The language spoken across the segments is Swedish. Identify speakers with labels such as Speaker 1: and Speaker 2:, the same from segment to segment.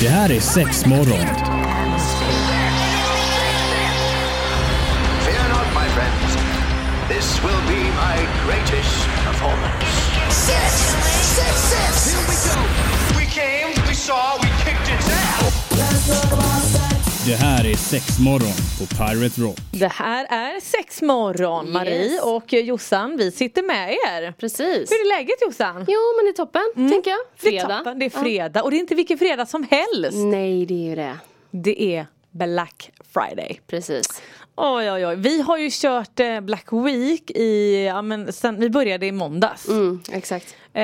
Speaker 1: Det här är sex morgon.
Speaker 2: Fear not, my friends. This will be my greatest performance.
Speaker 3: Six, six, six. Here we go.
Speaker 2: We came, we saw, we kicked its ass.
Speaker 1: Det här är sex morgon på Pirate Rock.
Speaker 4: Det här är sexmorgon, Marie
Speaker 5: Yes.
Speaker 4: och Jossan. Vi sitter med er.
Speaker 5: Precis.
Speaker 4: Hur är läget Jossan?
Speaker 5: Jo men det är toppen, tänker jag. Fredag.
Speaker 4: Mm.
Speaker 5: Mm.
Speaker 4: Det är, toppen. det är fredag och det är inte vilken fredag som helst.
Speaker 5: Ja. Nej det är ju det.
Speaker 4: Det är Black Friday.
Speaker 5: Precis.
Speaker 4: Oj, oj, oj. Vi har ju kört eh, Black Week i, ja, men sen vi började i måndags.
Speaker 5: Mm, exakt.
Speaker 4: Eh,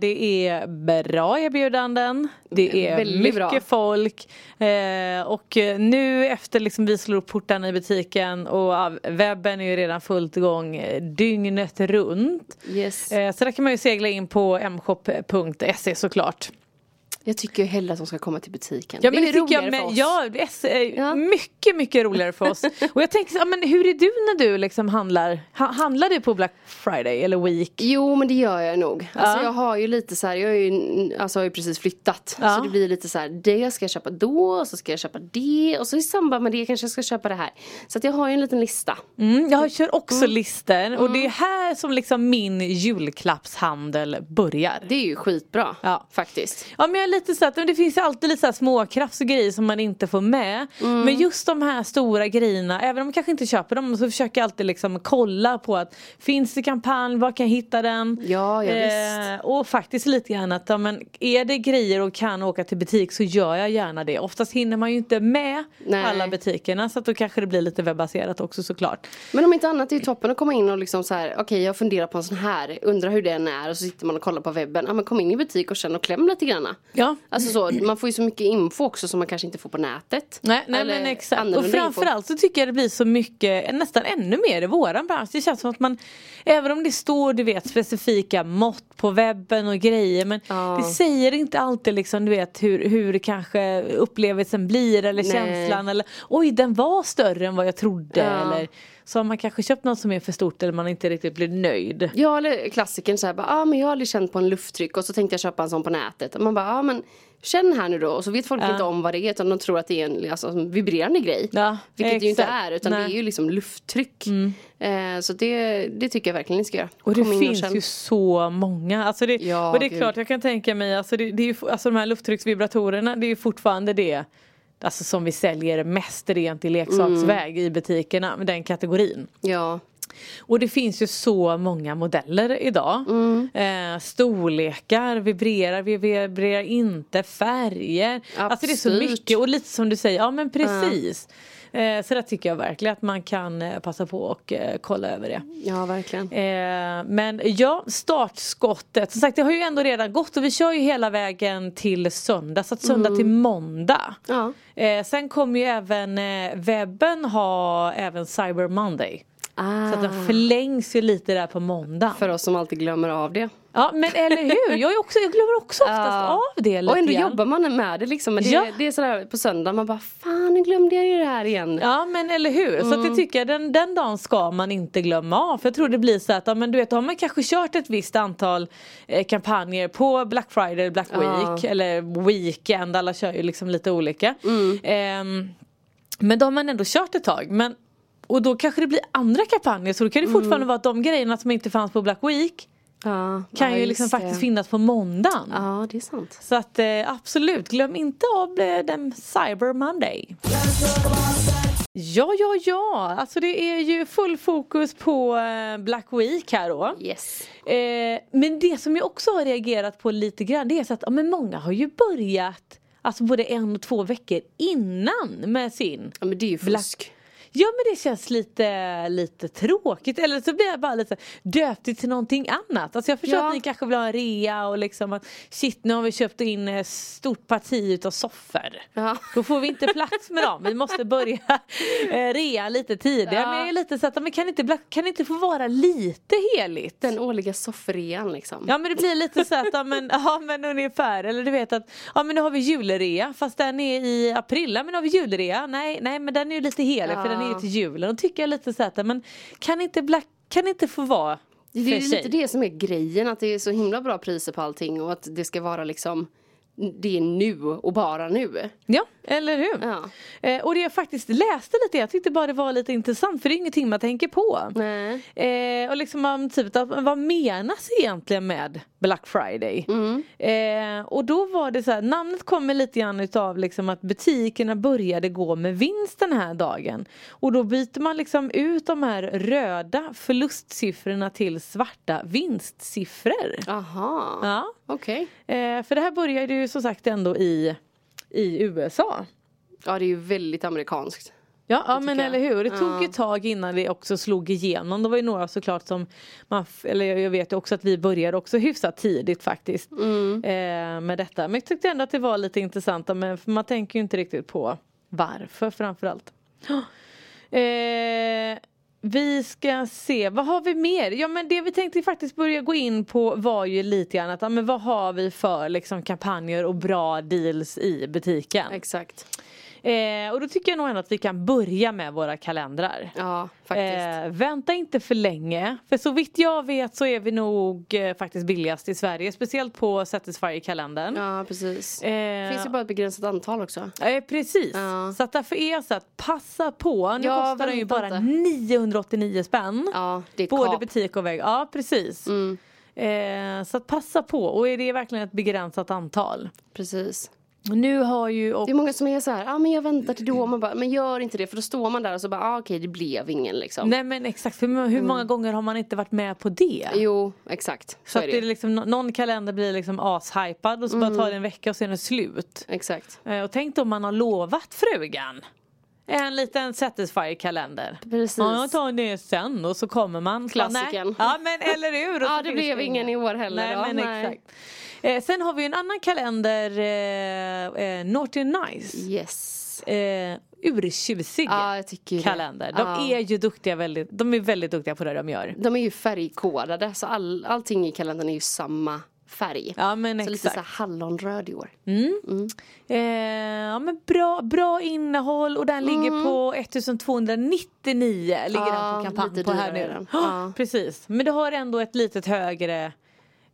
Speaker 4: det är bra erbjudanden, det är
Speaker 5: Väldigt
Speaker 4: mycket
Speaker 5: bra.
Speaker 4: folk eh, och eh, nu efter liksom vi slår upp portarna i butiken och ja, webben är ju redan fullt igång eh, dygnet runt.
Speaker 5: Yes.
Speaker 4: Eh, så där kan man ju segla in på mshop.se såklart.
Speaker 5: Jag tycker ju hellre att de ska komma till butiken.
Speaker 4: Ja men det,
Speaker 5: är
Speaker 4: tycker jag
Speaker 5: roligare
Speaker 4: med,
Speaker 5: för oss.
Speaker 4: ja, S är
Speaker 5: Ja.
Speaker 4: mycket mycket roligare för oss. och jag tänker så, ja, men hur är du när du liksom handlar, ha, handlar du på Black Friday eller Week?
Speaker 5: Jo men det gör jag nog. Alltså
Speaker 4: Ja.
Speaker 5: jag har ju lite så här, jag har ju, alltså, jag har ju precis flyttat.
Speaker 4: Ja.
Speaker 5: Så det blir lite så här, det ska jag köpa då, och så ska jag köpa det och så i samband med det kanske jag ska köpa det här. Så att jag har ju en liten lista.
Speaker 4: Mm, jag kör också lister och det
Speaker 5: Mm.
Speaker 4: är här som liksom min julklappshandel börjar.
Speaker 5: Det är ju skitbra
Speaker 4: Ja.
Speaker 5: faktiskt.
Speaker 4: Ja men jag är lite så att men det finns ju alltid lite så här småkrafts och grejer som man inte får med.
Speaker 5: Mm.
Speaker 4: Men just de här stora grejerna, även om jag kanske inte köper dem så försöker jag alltid liksom kolla på att finns det kampanj, var kan jag hitta den?
Speaker 5: Ja, ja,
Speaker 4: eh, och faktiskt lite grann att ja, men är det grejer och kan åka till butik så gör jag gärna det. Oftast hinner man ju inte med
Speaker 5: Nej.
Speaker 4: alla butikerna så att då kanske det blir lite webbaserat också såklart.
Speaker 5: Men om inte annat det är ju toppen att komma in och liksom så här, okej jag funderar på en sån här, undrar hur den är och så sitter man och kollar på webben. Ja men kom in i butik och känn och kläm lite granna.
Speaker 4: Ja.
Speaker 5: Alltså så, man får ju så mycket info också som man kanske inte får på nätet.
Speaker 4: Nej, nej
Speaker 5: Eller
Speaker 4: men exakt.
Speaker 5: annorlunda
Speaker 4: Och framförallt så tycker jag det blir så mycket, nästan ännu mer i våran bransch. Det känns som att man, även om det står du vet specifika mått på webben och grejer men
Speaker 5: Ja.
Speaker 4: det säger inte alltid liksom du vet hur, hur kanske upplevelsen blir eller
Speaker 5: Nej.
Speaker 4: känslan eller oj den var större än vad jag trodde
Speaker 5: Ja.
Speaker 4: eller så har man kanske köpt något som är för stort eller man inte riktigt blir nöjd.
Speaker 5: info. Ja eller klassikern såhär, ja ah, men jag har aldrig känt på en lufttryck och så tänkte jag köpa en sån på nätet. Och man bara, ja ah, men känn här nu då och så vet folk
Speaker 4: Ja.
Speaker 5: inte om vad det är utan de tror att det är en alltså, en vibrerande grej.
Speaker 4: Ja,
Speaker 5: Vilket det ju inte
Speaker 4: exakt.
Speaker 5: är utan
Speaker 4: Nej. Mm.
Speaker 5: det är ju liksom lufttryck. Eh, så det, det tycker jag verkligen ni ska göra.
Speaker 4: Och det
Speaker 5: Kom in
Speaker 4: finns
Speaker 5: känn.
Speaker 4: ju så många. Alltså det,
Speaker 5: Ja,
Speaker 4: och det är
Speaker 5: gud.
Speaker 4: klart, jag kan tänka mig, alltså, det, det är ju, f- alltså de här lufttrycksvibratorerna, det är ju fortfarande det alltså, som vi säljer mest rent i leksaksväg
Speaker 5: Mm.
Speaker 4: i butikerna, med den kategorin.
Speaker 5: Ja.
Speaker 4: Och det finns ju så många modeller idag.
Speaker 5: Mm.
Speaker 4: Eh, storlekar, vibrerar, vi- vibrerar inte, färger. Alltså det är så
Speaker 5: Absolut.
Speaker 4: mycket och lite som du säger, ja men precis. Eh, så där tycker jag verkligen att man kan eh, passa på och eh, kolla över det.
Speaker 5: ja, verkligen.
Speaker 4: Eh, men ja, startskottet. Som sagt det har ju ändå redan gått och vi kör ju hela vägen till söndag. Så att söndag till
Speaker 5: Mm.
Speaker 4: måndag.
Speaker 5: Ja.
Speaker 4: Eh, sen kommer ju även eh, webben ha även Cyber Monday.
Speaker 5: Ah.
Speaker 4: Så att den förlängs ju lite där på måndag.
Speaker 5: För oss som alltid glömmer av det.
Speaker 4: Ja men eller hur, jag, är också, jag glömmer också oftast av det lite
Speaker 5: Och ändå
Speaker 4: grann.
Speaker 5: jobbar man med det liksom. Men det,
Speaker 4: Ja.
Speaker 5: det är sådär på söndag man bara fan nu glömde jag ju det här igen.
Speaker 4: Ja men eller hur, så att
Speaker 5: Mm.
Speaker 4: det tycker jag den, den dagen ska man inte glömma av. För jag tror det blir så att ja, men du vet, då har man kanske kört ett visst antal eh, kampanjer på Black Friday, Black Week eller Weekend, alla kör ju liksom lite olika.
Speaker 5: Mm.
Speaker 4: Ehm, men då har man ändå kört ett tag. Men, och då kanske det blir andra kampanjer så då kan det
Speaker 5: Mm.
Speaker 4: fortfarande vara att de grejerna som inte fanns på Black Week
Speaker 5: Ja,
Speaker 4: kan
Speaker 5: ja,
Speaker 4: ju
Speaker 5: just
Speaker 4: liksom
Speaker 5: det.
Speaker 4: faktiskt finnas på måndagen.
Speaker 5: Ja det är sant.
Speaker 4: Så att eh, absolut, glöm inte av eh, den Cyber Monday. Ja, ja, ja. Alltså det är ju full fokus på eh, Black Week här då.
Speaker 5: Yes.
Speaker 4: Eh, men det som jag också har reagerat på lite grann det är så att ja, men många har ju börjat Alltså både en och två veckor innan med sin
Speaker 5: Ja men det är ju fusk.
Speaker 4: Ja men det känns lite, lite tråkigt eller så blir jag bara lite döpt det till någonting annat. Alltså jag förstår
Speaker 5: Ja.
Speaker 4: att ni kanske vill ha en rea och liksom att shit nu har vi köpt in ett stort parti utav soffor.
Speaker 5: Ja.
Speaker 4: Då får vi inte plats med dem, vi måste börja eh, rea lite tidigare.
Speaker 5: Ja.
Speaker 4: Men jag är lite så att men kan det inte, black- kan det inte få vara lite heligt?
Speaker 5: Den årliga soffrean liksom.
Speaker 4: Ja men det blir lite så att, ja men, ja men ungefär, eller du vet att, ja men nu har vi julrea fast den är i april, ja men nu har vi julrea, nej nej men den är ju lite helig för den är ju
Speaker 5: Ja.
Speaker 4: till julen och tycker jag lite så att, ja, men kan inte black, kan inte få vara
Speaker 5: det är
Speaker 4: för
Speaker 5: ju
Speaker 4: sig?
Speaker 5: lite det som är grejen att det är så himla bra priser på allting och att det ska vara liksom det är nu och bara nu.
Speaker 4: Ja, eller hur?
Speaker 5: Ja.
Speaker 4: Eh, och det jag faktiskt läste lite, jag tyckte bara det var lite intressant för det är ingenting man tänker på.
Speaker 5: Nej.
Speaker 4: Eh, och liksom man, typ, att, vad menas egentligen med Black Friday?
Speaker 5: Mm.
Speaker 4: Eh, och då var det så här, namnet kommer lite grann utav liksom att butikerna började gå med vinst den här dagen. Och då byter man liksom ut de här röda förlustsiffrorna till svarta vinstsiffror.
Speaker 5: Aha.
Speaker 4: Ja.
Speaker 5: Okej.
Speaker 4: Eh, för det här började ju som sagt ändå i, i USA.
Speaker 5: Ja, det är ju väldigt amerikanskt.
Speaker 4: Ja, ja men
Speaker 5: jag.
Speaker 4: eller hur. Det tog ju ett tag innan det också slog igenom. Det var ju några såklart som man, f- eller jag vet ju också att vi började också hyfsat tidigt faktiskt. Eh, med detta. Men jag tyckte ändå att det var lite intressant. Men för man tänker ju inte riktigt på varför framförallt. Eh, vi ska se, vad har vi mer? Ja men det vi tänkte faktiskt börja gå in på var ju lite grann att, ja, men vad har vi för liksom kampanjer och bra deals i butiken?
Speaker 5: Exakt.
Speaker 4: Eh, och då tycker jag nog ändå att vi kan börja med våra kalendrar.
Speaker 5: Ja, faktiskt.
Speaker 4: Eh, vänta inte för länge. För så vitt jag vet så är vi nog eh, faktiskt billigast i Sverige. Speciellt på Satisfyer-kalendern.
Speaker 5: Ja, precis.
Speaker 4: Mm. Eh,
Speaker 5: Finns ju bara ett begränsat antal också.
Speaker 4: Eh, precis,
Speaker 5: Ja.
Speaker 4: så att därför är jag så att passa på. Nu
Speaker 5: Ja,
Speaker 4: kostar den ju
Speaker 5: vänta
Speaker 4: bara
Speaker 5: inte.
Speaker 4: 989 spänn.
Speaker 5: Ja, det är Mm.
Speaker 4: Både
Speaker 5: kap.
Speaker 4: butik och väg. Ja precis. Eh, så att passa på och är det verkligen ett begränsat antal.
Speaker 5: Precis.
Speaker 4: Nu har ju och
Speaker 5: Det är många som är så här, ah, men jag väntar till då. Man bara, men gör inte det. För då står man där och så bara, ah, okej det blev ingen liksom.
Speaker 4: Nej men exakt, för hur
Speaker 5: Mm.
Speaker 4: många gånger har man inte varit med på det?
Speaker 5: Jo, exakt. Så,
Speaker 4: Så att
Speaker 5: är
Speaker 4: det
Speaker 5: det. Mm.
Speaker 4: är liksom, nå- någon kalender blir liksom ashypad och så bara tar det en vecka och sen är det slut.
Speaker 5: Exakt.
Speaker 4: Eh, Och tänk då om man har lovat frugan. En liten Satisfyer-kalender.
Speaker 5: Precis.
Speaker 4: Ja, jag tar det sen och så kommer man. Så bara, nej.
Speaker 5: Klassikern.
Speaker 4: Ja men eller hur. Och så
Speaker 5: Ja, det
Speaker 4: finns
Speaker 5: blev ingen i år heller.
Speaker 4: Nej,
Speaker 5: Ja,
Speaker 4: men
Speaker 5: nej.
Speaker 4: exakt. Eh, sen har vi ju en annan kalender, eh, eh, Naughty and Nice.
Speaker 5: Yes.
Speaker 4: Eh, urtjusig
Speaker 5: Ja, jag tycker ju det.
Speaker 4: kalender. De
Speaker 5: Ja.
Speaker 4: är ju duktiga väldigt, de är väldigt duktiga på det de gör.
Speaker 5: De är ju färgkodade så all, allting i kalendern är ju samma färg.
Speaker 4: Ja men
Speaker 5: så lite
Speaker 4: exakt.
Speaker 5: så här hallonröd i år.
Speaker 4: Eh, ja, men bra, bra innehåll och den ligger på 1299 ligger
Speaker 5: Mm. Ja,
Speaker 4: den på kampanj
Speaker 5: lite
Speaker 4: på här
Speaker 5: dyrare
Speaker 4: nu.
Speaker 5: den. Ja.
Speaker 4: Precis, men det har ändå ett litet högre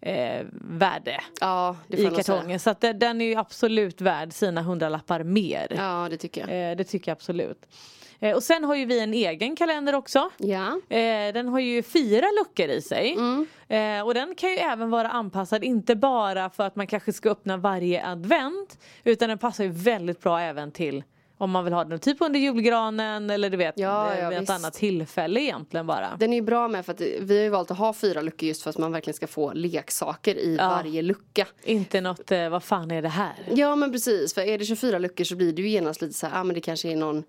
Speaker 4: eh, värde
Speaker 5: Ja, det får
Speaker 4: i
Speaker 5: jag nog säga.
Speaker 4: kartongen. Så att det, den är ju absolut värd sina hundralappar mer.
Speaker 5: Ja, det tycker jag.
Speaker 4: Eh, det tycker jag absolut. Eh, och sen har ju vi en egen kalender också.
Speaker 5: Ja.
Speaker 4: Eh, den har ju fyra luckor i sig.
Speaker 5: Mm.
Speaker 4: Eh, och den kan ju även vara anpassad inte bara för att man kanske ska öppna varje advent. Utan den passar ju väldigt bra även till om man vill ha den typ under julgranen eller du vet
Speaker 5: Ja,
Speaker 4: eh,
Speaker 5: ja,
Speaker 4: vid ett
Speaker 5: visst.
Speaker 4: annat tillfälle egentligen bara.
Speaker 5: Den är ju bra med för att vi har ju valt att ha fyra luckor just för att man verkligen ska få leksaker i
Speaker 4: Ja.
Speaker 5: varje lucka.
Speaker 4: Inte något, eh, vad fan är det här?
Speaker 5: Ja men precis, för är det 24 luckor så blir det ju genast lite så här, ah, men det kanske är någon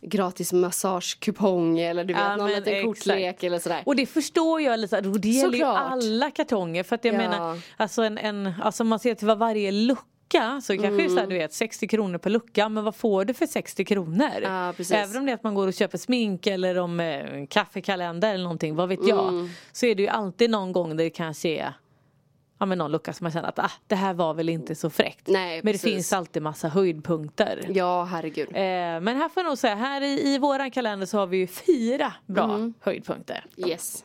Speaker 5: gratis massagekupong eller du vet
Speaker 4: Ja,
Speaker 5: någon
Speaker 4: men
Speaker 5: liten
Speaker 4: exakt.
Speaker 5: kortlek eller sådär.
Speaker 4: Och det förstår jag lite, och det gäller ju
Speaker 5: Såklart.
Speaker 4: alla kartonger för att jag
Speaker 5: Ja.
Speaker 4: menar Alltså en, en alltså man ser till vad varje lucka så kanske det är så här,
Speaker 5: Mm.
Speaker 4: du vet 60 kronor per lucka men vad får du för 60 kronor?
Speaker 5: Ja, precis.
Speaker 4: Även om det är att man går och köper smink eller om eh, en kaffekalender eller någonting, vad vet
Speaker 5: Mm.
Speaker 4: jag. Så är det ju alltid någon gång där det kanske är Ja men någon lucka som man känner att ah, det här var väl inte så fräckt.
Speaker 5: Nej,
Speaker 4: men det
Speaker 5: precis.
Speaker 4: finns alltid massa höjdpunkter.
Speaker 5: Ja herregud.
Speaker 4: Eh, men här får jag nog säga, här i, i våran kalender så har vi ju fyra bra
Speaker 5: Mm.
Speaker 4: höjdpunkter.
Speaker 5: Yes.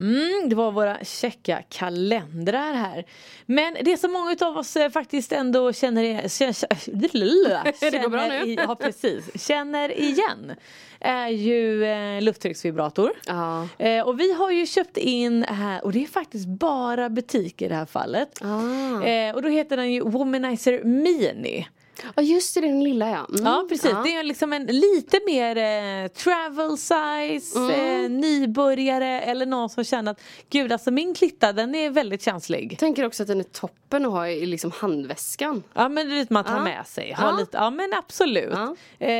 Speaker 4: Mm, det var våra checka kalendrar här. Men det som många av oss eh, faktiskt ändå känner igen, känner,
Speaker 5: Det går bra nu.
Speaker 4: i- ja, precis, känner igen är ju eh, lufttrycksvibrator.
Speaker 5: Ja.
Speaker 4: Eh, och vi har ju köpt in här, och det är faktiskt bara butik i det här fallet.
Speaker 5: Ah.
Speaker 4: Eh, och då heter den ju Womanizer Mini.
Speaker 5: Ja just det, det är den lilla ja. Mm.
Speaker 4: Ja precis, det är liksom en lite mer eh, travel size,
Speaker 5: Mm.
Speaker 4: eh, nybörjare eller någon som känner att gud alltså min klitta den är väldigt känslig.
Speaker 5: Jag tänker också att den är toppen att ha i liksom handväskan.
Speaker 4: Ja men du vet man tar
Speaker 5: Ja.
Speaker 4: med sig. Ha
Speaker 5: Ja.
Speaker 4: Lite, ja men absolut.
Speaker 5: Ja.
Speaker 4: Eh,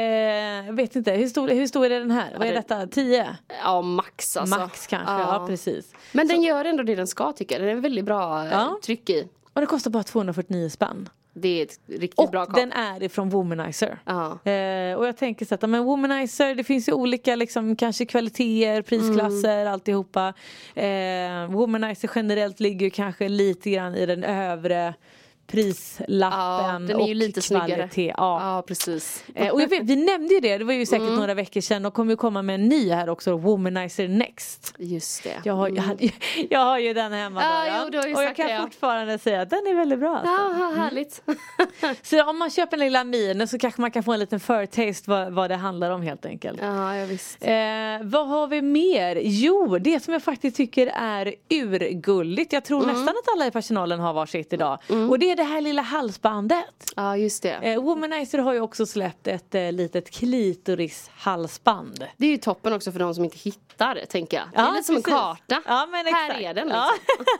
Speaker 4: jag vet inte, hur stor, hur stor är den här? Vad är
Speaker 5: det-
Speaker 4: detta, 10?
Speaker 5: Ja max alltså.
Speaker 4: Max kanske, ja. precis.
Speaker 5: Men den gör ändå det den ska tycker jag. Den är väldigt bra eh,
Speaker 4: Ja.
Speaker 5: tryck i.
Speaker 4: Och det kostar bara 249 spänn.
Speaker 5: Det är ett riktigt
Speaker 4: Och
Speaker 5: bra kap.
Speaker 4: den är ifrån Womanizer.
Speaker 5: Ja.
Speaker 4: Eh, och jag tänker så att ja, men Womanizer, det finns ju olika liksom, kanske kvaliteter, prisklasser,
Speaker 5: Mm.
Speaker 4: alltihopa. Eh, womanizer generellt ligger ju kanske lite grann i den övre prislappen
Speaker 5: den är ju
Speaker 4: och
Speaker 5: lite
Speaker 4: kvalitet.
Speaker 5: snyggare.
Speaker 4: Ja.
Speaker 5: ja Mm. precis.
Speaker 4: Eh, Och jag vet, vi nämnde ju det, det var ju säkert några veckor sedan. De kommer ju komma med en ny här också, Womanizer Next.
Speaker 5: Just det.
Speaker 4: Jag har, jag, hade ju- jag har ju den hemma
Speaker 5: Mm. Ja,
Speaker 4: Daran.
Speaker 5: jo, du har ju
Speaker 4: och jag
Speaker 5: sagt
Speaker 4: kan
Speaker 5: det, ja.
Speaker 4: fortfarande säga att den är väldigt bra. Alltså.
Speaker 5: Ja, vad härligt.
Speaker 4: Så om man köper en lilla mini så kanske man kan få en liten förtaste vad, vad det handlar om helt enkelt.
Speaker 5: ja, jag visst.
Speaker 4: Eh, vad har vi mer? Jo, det som jag faktiskt tycker är urgulligt. Jag tror
Speaker 5: Mm.
Speaker 4: nästan att alla i personalen har varsitt idag. Och det är det här lilla halsbandet.
Speaker 5: Ja, just det.
Speaker 4: Eh, Womanizer har ju också släppt ett eh, litet klitorishalsband.
Speaker 5: Det är ju toppen också för de som inte hittar, tänker jag. Det är lite som
Speaker 4: precis.
Speaker 5: en karta.
Speaker 4: Ja, men exakt.
Speaker 5: Här är den liksom.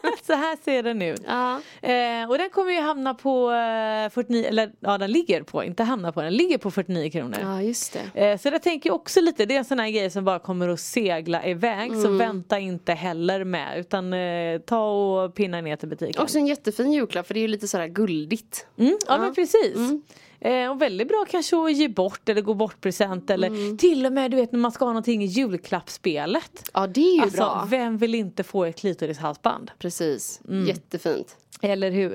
Speaker 4: Ja. Så här ser den ut.
Speaker 5: Ja.
Speaker 4: Eh, och den kommer ju hamna på eh, 49, eller ja den ligger på, inte hamna på, den ligger på 49 kronor.
Speaker 5: Ja, just det.
Speaker 4: Eh, Så det tänker jag också lite, det är en sån här grej som bara kommer att segla iväg så
Speaker 5: Mm.
Speaker 4: vänta inte heller med utan eh, ta och pinna ner till butiken.
Speaker 5: Också en jättefin julklapp för det är ju lite sådär guldigt.
Speaker 4: Mm, ja, men precis. Eh, och väldigt bra kanske att ge bort eller gå bort present eller
Speaker 5: Mm.
Speaker 4: till och med du vet när man ska ha någonting i julklappsspelet.
Speaker 5: Ja, det är ju
Speaker 4: Alltså
Speaker 5: bra.
Speaker 4: vem vill inte få ett klitorishalsband?
Speaker 5: Precis,
Speaker 4: Mm.
Speaker 5: jättefint.
Speaker 4: Eller hur?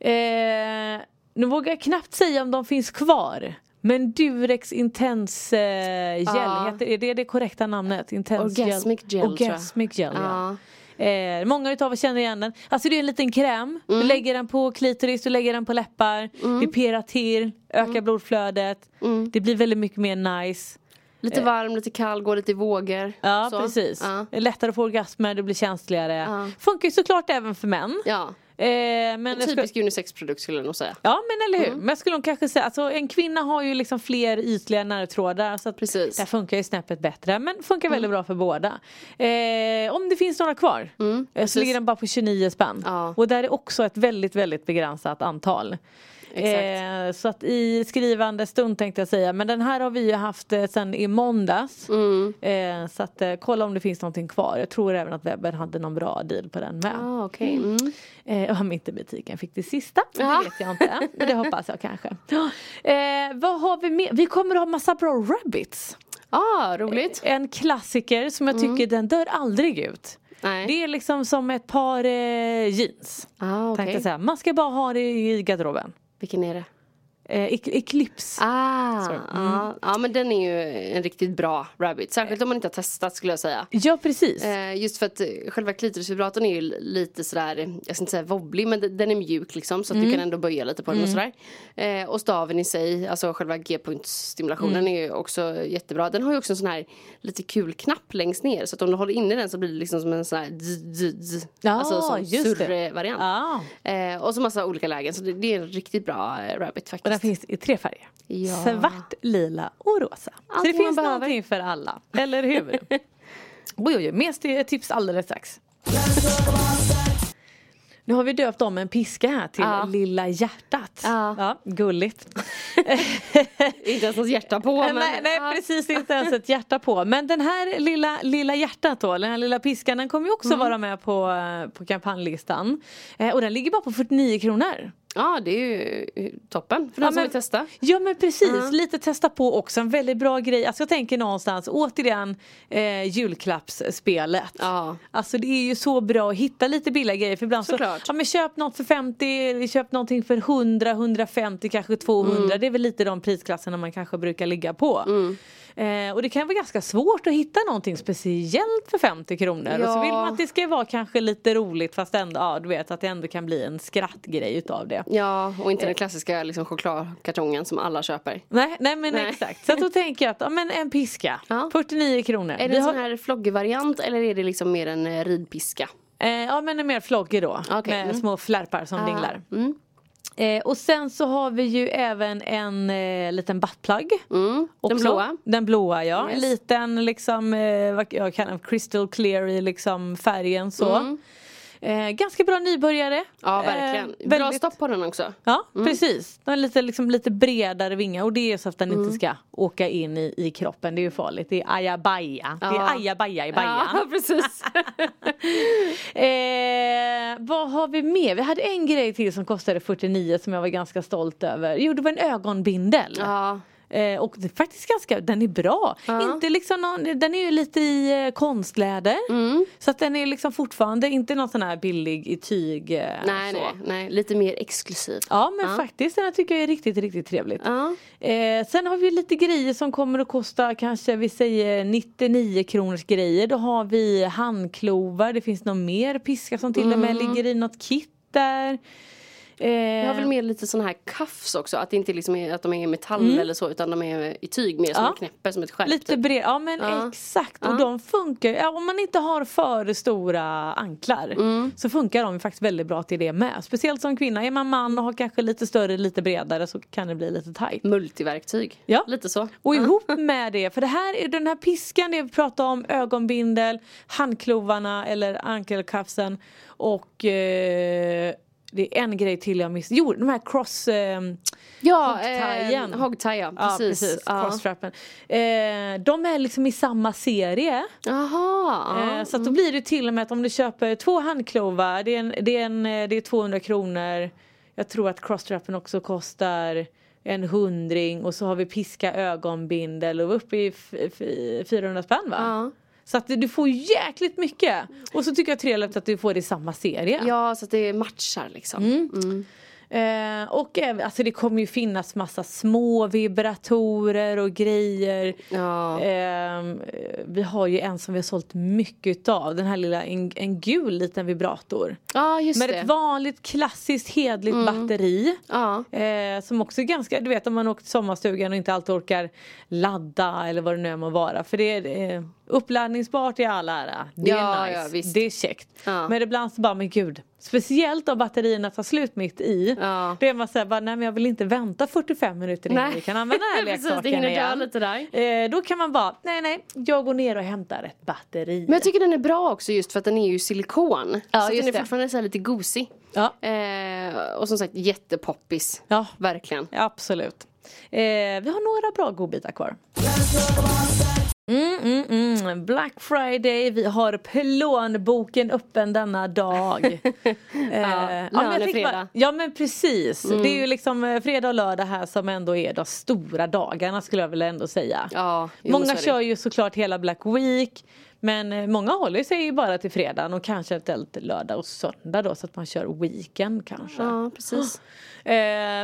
Speaker 4: Eh, nu vågar jag knappt säga om de finns kvar. Men Durex Intense eh, Gel,
Speaker 5: Ja.
Speaker 4: heter, är det det korrekta namnet? Intense
Speaker 5: Orgasmic gel, tror jag.
Speaker 4: Orgasmic gel ja.
Speaker 5: Ja.
Speaker 4: Eh, många utav oss känner igen den. Alltså det är en liten kräm.
Speaker 5: Mm.
Speaker 4: Du lägger den på klitoris, du lägger den på läppar. Det pirrar till, ökar
Speaker 5: Mm.
Speaker 4: blodflödet. Det blir väldigt mycket mer nice.
Speaker 5: Lite varm, lite kall, går lite i vågor.
Speaker 4: Eh. Ja
Speaker 5: Så.
Speaker 4: precis.
Speaker 5: Ja.
Speaker 4: Det är Lättare att få orgasmer, det blir känsligare.
Speaker 5: Ja.
Speaker 4: Funkar ju såklart även för män.
Speaker 5: ja.
Speaker 4: Eh, men jag skulle-
Speaker 5: Typisk unisexprodukt skulle jag nog säga.
Speaker 4: Ja men eller hur.
Speaker 5: Mm.
Speaker 4: Men jag skulle nog kanske säga, alltså en kvinna har ju liksom fler ytliga nervtrådar. Så att
Speaker 5: Precis. Mm.
Speaker 4: Där funkar ju snäppet bättre. Men funkar väldigt bra för båda. Eh, om det finns några kvar. eh, så ligger den bara på 29 spänn.
Speaker 5: Mm, Ja.
Speaker 4: Och där är också ett väldigt väldigt begränsat antal. Eh, så att i skrivande stund tänkte jag säga. Men den här har vi ju haft eh, sen i måndags.
Speaker 5: Mm.
Speaker 4: Eh, så att eh, kolla om det finns någonting kvar. Jag tror även att webben hade någon bra deal på den med.
Speaker 5: Ah, okej. Mm.
Speaker 4: Eh, om inte butiken fick det sista.
Speaker 5: Ja.
Speaker 4: Det vet jag inte. Men det hoppas jag kanske. Eh, vad har vi mer? Vi kommer att ha massa bra rabbits.
Speaker 5: Ah, roligt. Mm.
Speaker 4: En klassiker som jag tycker den dör aldrig ut.
Speaker 5: Nej.
Speaker 4: Det är liksom som ett par eh, jeans.
Speaker 5: Ah, okej.
Speaker 4: Tänkte så här, man ska bara ha det i garderoben.
Speaker 5: Vilken är det?
Speaker 4: Eh, ek- Eclipse.
Speaker 5: Ah,
Speaker 4: Sorry.
Speaker 5: ja. ja, men den är ju en riktigt bra rabbit. Särskilt om man inte har testat skulle jag säga.
Speaker 4: Ja precis.
Speaker 5: Eh, just för att eh, själva klitorisvibratorn är ju lite sådär, eh, jag ska inte säga wobbly men d- den är mjuk liksom så
Speaker 4: Mm.
Speaker 5: att du kan ändå böja lite på den och sådär. Eh, och staven i sig, alltså själva g-punktstimulationen
Speaker 4: Mm.
Speaker 5: är ju också jättebra. Den har ju också en sån här lite kul knapp längst ner så att om du håller inne den så blir det liksom som en sån här zzz, zzz, zzz. alltså som
Speaker 4: just det.
Speaker 5: surre-variant.
Speaker 4: Ja.
Speaker 5: Eh, och så massa olika lägen så det, det är en riktigt bra eh, rabbit
Speaker 4: Och den
Speaker 5: faktiskt.
Speaker 4: finns i tre färger.
Speaker 5: Ja.
Speaker 4: Svart, lila och rosa.
Speaker 5: Allt
Speaker 4: Så det
Speaker 5: man
Speaker 4: finns
Speaker 5: behöver.
Speaker 4: någonting för alla. Eller hur? oj, oj, oj. Mer st- tips alldeles strax. Nu har vi döpt om en piska här till
Speaker 5: Ja.
Speaker 4: Lilla hjärtat.
Speaker 5: Ja.
Speaker 4: gulligt.
Speaker 5: Inte ens något hjärta på men
Speaker 4: nej, nej
Speaker 5: ja.
Speaker 4: precis, inte ens ett hjärta på. Men den här lilla, lilla hjärtat då, den här lilla piskan den kommer ju
Speaker 5: Mm.
Speaker 4: också vara med på, eh, på kampanjlistan. Eh, och den ligger bara på 49 kronor.
Speaker 5: Ja, det är ju eh, toppen för de
Speaker 4: Ja,
Speaker 5: som
Speaker 4: men-
Speaker 5: vill testa.
Speaker 4: Ja men precis, lite testa på också. En väldigt bra grej. Alltså jag tänker någonstans återigen eh, julklappsspelet.
Speaker 5: Ja.
Speaker 4: Alltså det är ju så bra att hitta lite billiga grejer. För ibland
Speaker 5: Såklart.
Speaker 4: så, ja men köp något för 50, köp någonting för 100, 150, kanske 200.
Speaker 5: Mm.
Speaker 4: Det är väl lite de prisklasserna man kanske brukar ligga på. Eh, och det kan vara ganska svårt att hitta någonting speciellt för 50 kronor. Och så
Speaker 5: Ja.
Speaker 4: vill man att det ska vara kanske lite roligt fast ändå, ja du vet att det ändå kan bli en skrattgrej utav det.
Speaker 5: Ja, och inte den klassiska liksom, chokladkartongen som alla köper.
Speaker 4: Nej, nej men
Speaker 5: Nej.
Speaker 4: exakt. Så att då tänker jag att ja, men en piska,
Speaker 5: Ja.
Speaker 4: 49 kronor.
Speaker 5: Är det
Speaker 4: Vi
Speaker 5: en
Speaker 4: har,
Speaker 5: sån här floggevariant eller är det liksom mer en eh, ridpiska?
Speaker 4: eh, ja men en mer floggig då.
Speaker 5: Okej,
Speaker 4: Med
Speaker 5: mm.
Speaker 4: små flärpar som dinglar.
Speaker 5: Mm.
Speaker 4: Eh, och sen så har vi ju även en eh, liten buttplug.
Speaker 5: Mm. Den
Speaker 4: också.
Speaker 5: blåa?
Speaker 4: Den blåa ja.
Speaker 5: Yes.
Speaker 4: Liten liksom, eh, vad jag kallar den, crystal clear i liksom färgen så. Eh, ganska bra nybörjare.
Speaker 5: Mm. Ja, verkligen.
Speaker 4: Eh,
Speaker 5: Bra
Speaker 4: väldigt-
Speaker 5: stopp på den också.
Speaker 4: Ja precis, den har lite, liksom, lite bredare vingar och det är så att den
Speaker 5: Mm.
Speaker 4: inte ska åka in i, i kroppen, det är ju farligt. Det är ajabaja, det
Speaker 5: Ja.
Speaker 4: är ajabaja i bajan.
Speaker 5: Ja, precis.
Speaker 4: Eh, vad har vi mer? Vi hade en grej till som kostade 49 som jag var ganska stolt över. Jo det var en ögonbindel.
Speaker 5: ja.
Speaker 4: Eh, och det är faktiskt ganska, den är bra. Inte liksom någon, den är ju lite i eh, konstläder.
Speaker 5: Mm.
Speaker 4: Så att den är liksom fortfarande inte någon sån här billig i tyg. Eh,
Speaker 5: Nej,
Speaker 4: så.
Speaker 5: nej, nej, lite mer exklusiv.
Speaker 4: Ja men faktiskt den här tycker jag är riktigt riktigt trevligt.
Speaker 5: Ja.
Speaker 4: Eh, sen har vi lite grejer som kommer att kosta kanske vi säger 99 kronors grejer. Då har vi handklovar, det finns någon mer piska som till och med ligger i något kit där. Eh,
Speaker 5: Mm. Jag har väl med lite sån här cuffs också, att det inte liksom är att de är i metall eller så utan de är i tyg mer som
Speaker 4: Mm. Ja.
Speaker 5: man knäpper som ett skärp.
Speaker 4: Lite
Speaker 5: typ.
Speaker 4: bred, ja men
Speaker 5: Ja.
Speaker 4: exakt.
Speaker 5: Ja.
Speaker 4: Och de funkar ju, ja, om man inte har för stora anklar
Speaker 5: Mm.
Speaker 4: så funkar de ju faktiskt väldigt bra till det med. Speciellt som kvinna, är man man och har kanske lite större, lite bredare så kan det bli lite tajt.
Speaker 5: Multiverktyg.
Speaker 4: Ja.
Speaker 5: Lite så.
Speaker 4: Och
Speaker 5: Ja.
Speaker 4: ihop med det, för det här, är- den här piskan det vi pratar om, ögonbindel, handklovarna eller ankelkafsen och eh, det är en grej till jag missade. Jo, de här cross... Eh,
Speaker 5: Ja,
Speaker 4: Hoggtajen.
Speaker 5: eh, hoggtajen.
Speaker 4: ja,
Speaker 5: Precis.
Speaker 4: precis.
Speaker 5: Ja.
Speaker 4: Crossstrappen. Eh, de är liksom i samma serie.
Speaker 5: Jaha.
Speaker 4: Eh, så att då blir det till och med att om du köper två handklovar, det är, en, det är, en, eh, det är 200 kronor. Jag tror att crossstrappen också kostar en hundring och så har vi piska, ögonbindel och uppe i f- f- 400 spänn va?
Speaker 5: Ja.
Speaker 4: Så att du får jäkligt mycket! Och så tycker jag trevligt att du får det i samma serie.
Speaker 5: Ja, så att det matchar liksom.
Speaker 4: Mm. Eh, och även- alltså det kommer ju finnas massa små vibratorer och grejer.
Speaker 5: Ja.
Speaker 4: Ehm, eh, vi har ju en som vi har sålt mycket utav. Den här lilla, en, en gul liten vibrator.
Speaker 5: Ja, just
Speaker 4: Med
Speaker 5: det. Mm.
Speaker 4: ett vanligt klassiskt hedligt batteri.
Speaker 5: Ja.
Speaker 4: Eh, som också är ganska, du vet om man åker till sommarstugan och inte alltid orkar ladda eller vad det nu är må vara. För det är eh, uppladdningsbart i all ära. Det
Speaker 5: Ja,
Speaker 4: är
Speaker 5: ja,
Speaker 4: nice.
Speaker 5: visst.
Speaker 4: det är käckt.
Speaker 5: Ja.
Speaker 4: Men ibland så bara, men gud. Speciellt om batterierna tar slut mitt i.
Speaker 5: Ja.
Speaker 4: Då är man såhär, bara, nej men jag vill inte vänta 45 minuter innan vi kan använda den här
Speaker 5: Precis, det
Speaker 4: leksaken
Speaker 5: hinner dö
Speaker 4: igen.
Speaker 5: lite där.
Speaker 4: Eh, då kan man bara, nej nej, jag går ner och hämtar ett batteri.
Speaker 5: Men jag tycker den är bra också just för att den är ju silikon.
Speaker 4: Ja,
Speaker 5: så att
Speaker 4: just
Speaker 5: den är
Speaker 4: det.
Speaker 5: fortfarande så här lite gosig.
Speaker 4: ja.
Speaker 5: Eh, och som sagt jättepoppis.
Speaker 4: ja,
Speaker 5: Verkligen.
Speaker 4: Absolut. Eh, vi har några bra godbitar kvar. Mm, mm, mm. Black Friday, vi har plånboken öppen denna dag. Eh, ja, men jag tänker
Speaker 5: lönefredag.
Speaker 4: bara- ja men precis,
Speaker 5: Mm.
Speaker 4: det är ju liksom eh, fredag och lördag här som ändå är de stora dagarna skulle jag väl ändå säga.
Speaker 5: Ja, jo, så är
Speaker 4: många
Speaker 5: det.
Speaker 4: kör ju såklart hela Black Week men eh, många håller sig ju bara till fredagen och kanske eventuellt lördag och söndag då så att man kör weekend kanske.
Speaker 5: Ja, precis.
Speaker 4: Eh,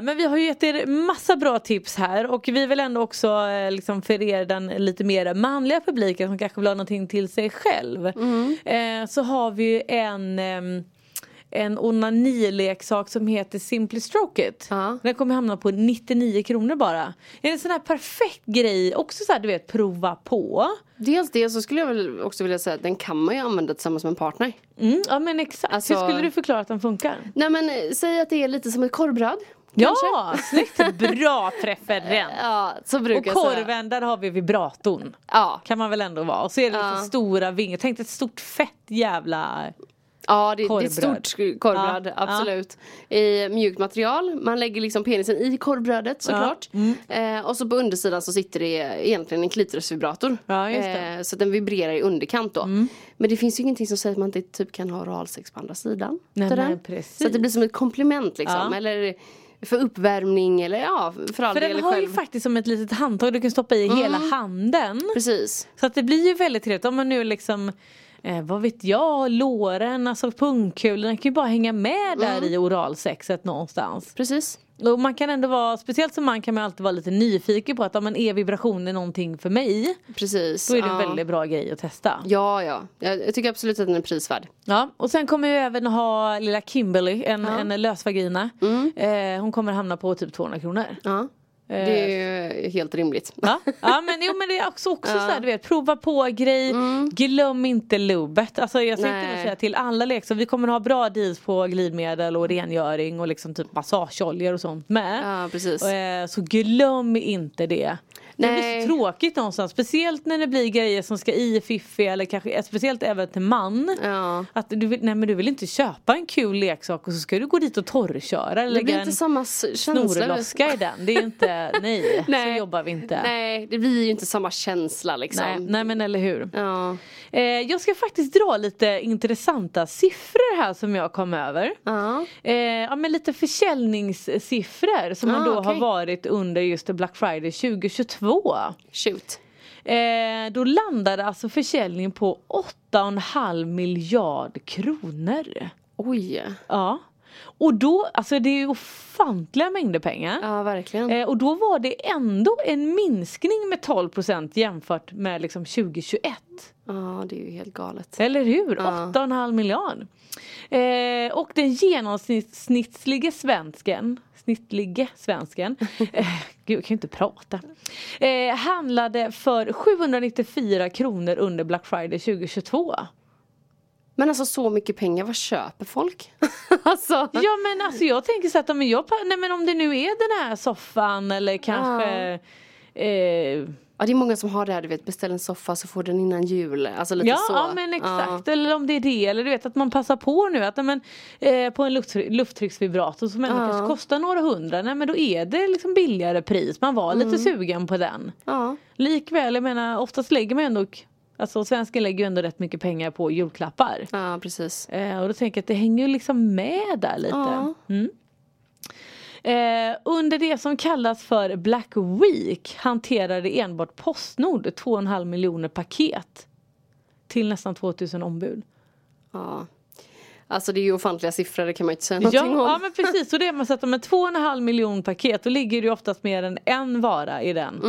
Speaker 4: men vi har ju gett er massa bra tips här och vi vill ändå också eh, liksom för er den lite mer manliga publiken som kanske vill ha någonting till sig själv.
Speaker 5: Mm.
Speaker 4: Eh, så har vi ju en ehm, en onanileksak som heter Simply Stroke It.
Speaker 5: Ja.
Speaker 4: Den kommer hamna på 99 kronor bara. Det är en sån här perfekt grej, också så här du vet prova på.
Speaker 5: Dels det så skulle jag väl också vilja säga att den kan man ju använda tillsammans med en partner.
Speaker 4: Mm, ja men exakt,
Speaker 5: Alltså-
Speaker 4: hur skulle du förklara att den funkar?
Speaker 5: Nej men eh, säg att det är lite som ett korvbröd.
Speaker 4: Ja, snyggt, bra preferens.
Speaker 5: Ja, så
Speaker 4: Och
Speaker 5: brukar jag säga.
Speaker 4: korven, där har vi vibratorn.
Speaker 5: Ja.
Speaker 4: Kan man väl ändå vara. Och så är det
Speaker 5: Ja.
Speaker 4: lite stora vingar. Tänk dig ett stort fett jävla...
Speaker 5: Ja, det, det är
Speaker 4: Korvbröd.
Speaker 5: ett stort skru- korvbröd,
Speaker 4: Ja,
Speaker 5: absolut. I mjukt material. Man lägger liksom penisen i korvbrödet såklart.
Speaker 4: Mm.
Speaker 5: Eh, och så på undersidan så sitter det egentligen en klitorisvibrator.
Speaker 4: Ja, just det. Mm.
Speaker 5: Eh, så att den vibrerar i underkant då. Men det finns ju ingenting som säger att man inte typ kan ha oralsex på andra sidan.
Speaker 4: Nej,
Speaker 5: utav
Speaker 4: men
Speaker 5: den.
Speaker 4: precis.
Speaker 5: Så att det blir som ett komplement liksom.
Speaker 4: Ja.
Speaker 5: Eller för uppvärmning eller ja, för all
Speaker 4: För
Speaker 5: del
Speaker 4: den har
Speaker 5: själv. Mm.
Speaker 4: ju faktiskt som ett litet handtag du kan stoppa i hela handen.
Speaker 5: Precis.
Speaker 4: Så att det blir ju väldigt trevligt. Om man nu liksom, eh, vad vet jag, låren, alltså pungkulorna kan ju bara hänga med där
Speaker 5: Mm.
Speaker 4: i oralsexet någonstans.
Speaker 5: Precis.
Speaker 4: Och man kan ändå vara, speciellt som man kan man alltid vara lite nyfiken på att om en e-vibration är någonting för mig.
Speaker 5: Precis.
Speaker 4: Då är det
Speaker 5: ja.
Speaker 4: en väldigt bra grej att testa.
Speaker 5: Ja, ja. Jag, jag tycker absolut att den är prisvärd.
Speaker 4: Ja, och sen kommer vi även ha lilla Kimberly, en, en lösvagina.
Speaker 5: Mm.
Speaker 4: Eh, hon kommer hamna på typ 200 kronor.
Speaker 5: Ja. Det är ju helt rimligt.
Speaker 4: Ja, ja men, jo, men det är också, också så här, du vet, prova på grej, glöm inte lubbet. Alltså, jag tänkte
Speaker 5: Mm. Nej.
Speaker 4: nog säga till alla leksaker, vi kommer ha bra deals på glidmedel och rengöring och liksom typ massageoljor och sånt med.
Speaker 5: Ja, precis.
Speaker 4: Och, eh, så glöm inte det. Det blir så tråkigt någonstans. Speciellt när det blir grejer som ska i fiffiga eller kanske speciellt även till man.
Speaker 5: Ja.
Speaker 4: Att du, vill- nej men du vill inte köpa en kul leksak och så ska du gå dit och torrköra. Eller
Speaker 5: Det blir
Speaker 4: lägga
Speaker 5: inte
Speaker 4: en
Speaker 5: samma s- känsla.
Speaker 4: snorloska i den. Det är inte, nej,
Speaker 5: Nej.
Speaker 4: så jobbar vi inte.
Speaker 5: Nej, det blir ju inte samma känsla liksom.
Speaker 4: Nej, nej men eller hur.
Speaker 5: Ja.
Speaker 4: Eh, jag ska faktiskt dra lite intressanta siffror här som jag kom över.
Speaker 5: Ja.
Speaker 4: Eh, ja, men lite försäljningssiffror som
Speaker 5: Ah,
Speaker 4: har då har
Speaker 5: okej.
Speaker 4: varit under just Black Friday 2022.
Speaker 5: Shoot.
Speaker 4: Eh, då landade alltså försäljningen på 8,5 miljard kronor.
Speaker 5: Oj.
Speaker 4: Ja. Och då, alltså det är ju ofantliga mängder pengar.
Speaker 5: Ja, verkligen.
Speaker 4: Eh, och då var det ändå en minskning med 12% jämfört med liksom 2021.
Speaker 5: Ja, det är ju helt galet.
Speaker 4: Eller hur?
Speaker 5: Ja.
Speaker 4: 8,5 miljard. Eh, och den genomsnittlige svensken Snittlige svensken, eh, gud jag kan ju inte prata, eh, handlade för 794 kronor under Black Friday 2022.
Speaker 5: Men alltså så mycket pengar, vad köper folk? alltså,
Speaker 4: Ja men alltså jag tänker så att om, jag, pa- nej, men om det nu är den här soffan eller kanske eh,
Speaker 5: ja, det är många som har det här, du vet, beställ en soffa så får den innan jul. Alltså lite
Speaker 4: Ja,
Speaker 5: så.
Speaker 4: ja men exakt. Eller om det är det. Eller du vet att man passar på nu. Att, nej, men, eh, på en lufttry- lufttrycksvibrator som ändå
Speaker 5: Ja.
Speaker 4: kanske kostar några hundra. Nej, men då är det liksom billigare pris. Man var
Speaker 5: Mm.
Speaker 4: lite sugen på den.
Speaker 5: Ja.
Speaker 4: Likväl, jag menar oftast lägger man ändå Alltså svensken lägger ju ändå rätt mycket pengar på julklappar.
Speaker 5: ja, precis.
Speaker 4: Eh, och då tänker jag att det hänger ju liksom med där lite.
Speaker 5: Ja.
Speaker 4: Mm. Eh, under det som kallas för Black Week hanterade enbart Postnord 2,5 miljoner paket. Till nästan 2000 ombud.
Speaker 5: Ja. Alltså det är ju ofantliga siffror, det kan man ju inte säga
Speaker 4: Ja,
Speaker 5: någonting
Speaker 4: ja
Speaker 5: om.
Speaker 4: men precis, och det är man sett med 2,5 miljon paket då ligger det ju oftast mer än en vara i den.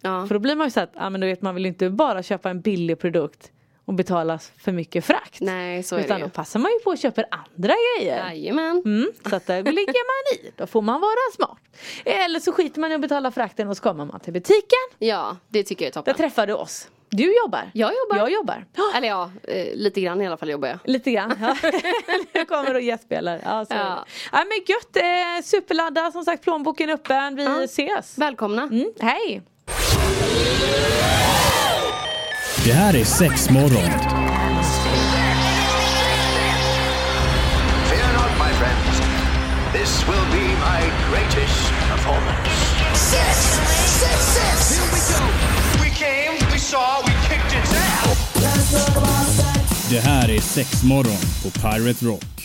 Speaker 5: Ja.
Speaker 4: För då blir man ju så att, ja men du vet man vill ju inte bara köpa en billig produkt och betala för mycket frakt.
Speaker 5: Nej, så är
Speaker 4: Utan
Speaker 5: det
Speaker 4: då
Speaker 5: ju.
Speaker 4: passar man ju på och köper andra grejer.
Speaker 5: Jajamän.
Speaker 4: Mm, så att där ligger man i, då får man vara smart. Eh, Eller så skiter man i att betala frakten och så kommer man till butiken.
Speaker 5: Ja, det tycker jag är
Speaker 4: Där
Speaker 5: toppen.
Speaker 4: träffar du oss. Du jobbar.
Speaker 5: Jag jobbar.
Speaker 4: Jag jobbar. Ja,
Speaker 5: Eller ja, eh, lite grann i alla fall jobbar jag.
Speaker 4: Lite grann. Ja. Jag kommer och gästspelar. Ja, så. är det.
Speaker 5: Ja.
Speaker 4: ja, men gött. Eh, superladda. Som sagt, plånboken är öppen. Vi ses.
Speaker 5: Välkomna.
Speaker 4: Mm, hej.
Speaker 1: Det här är sex morgon.
Speaker 2: Fear not, my friends. This will be my greatest performance.
Speaker 3: Six, six, six.
Speaker 2: We came, we saw, we kicked its ass.
Speaker 1: Det här är sex morgon på Pirate Rock.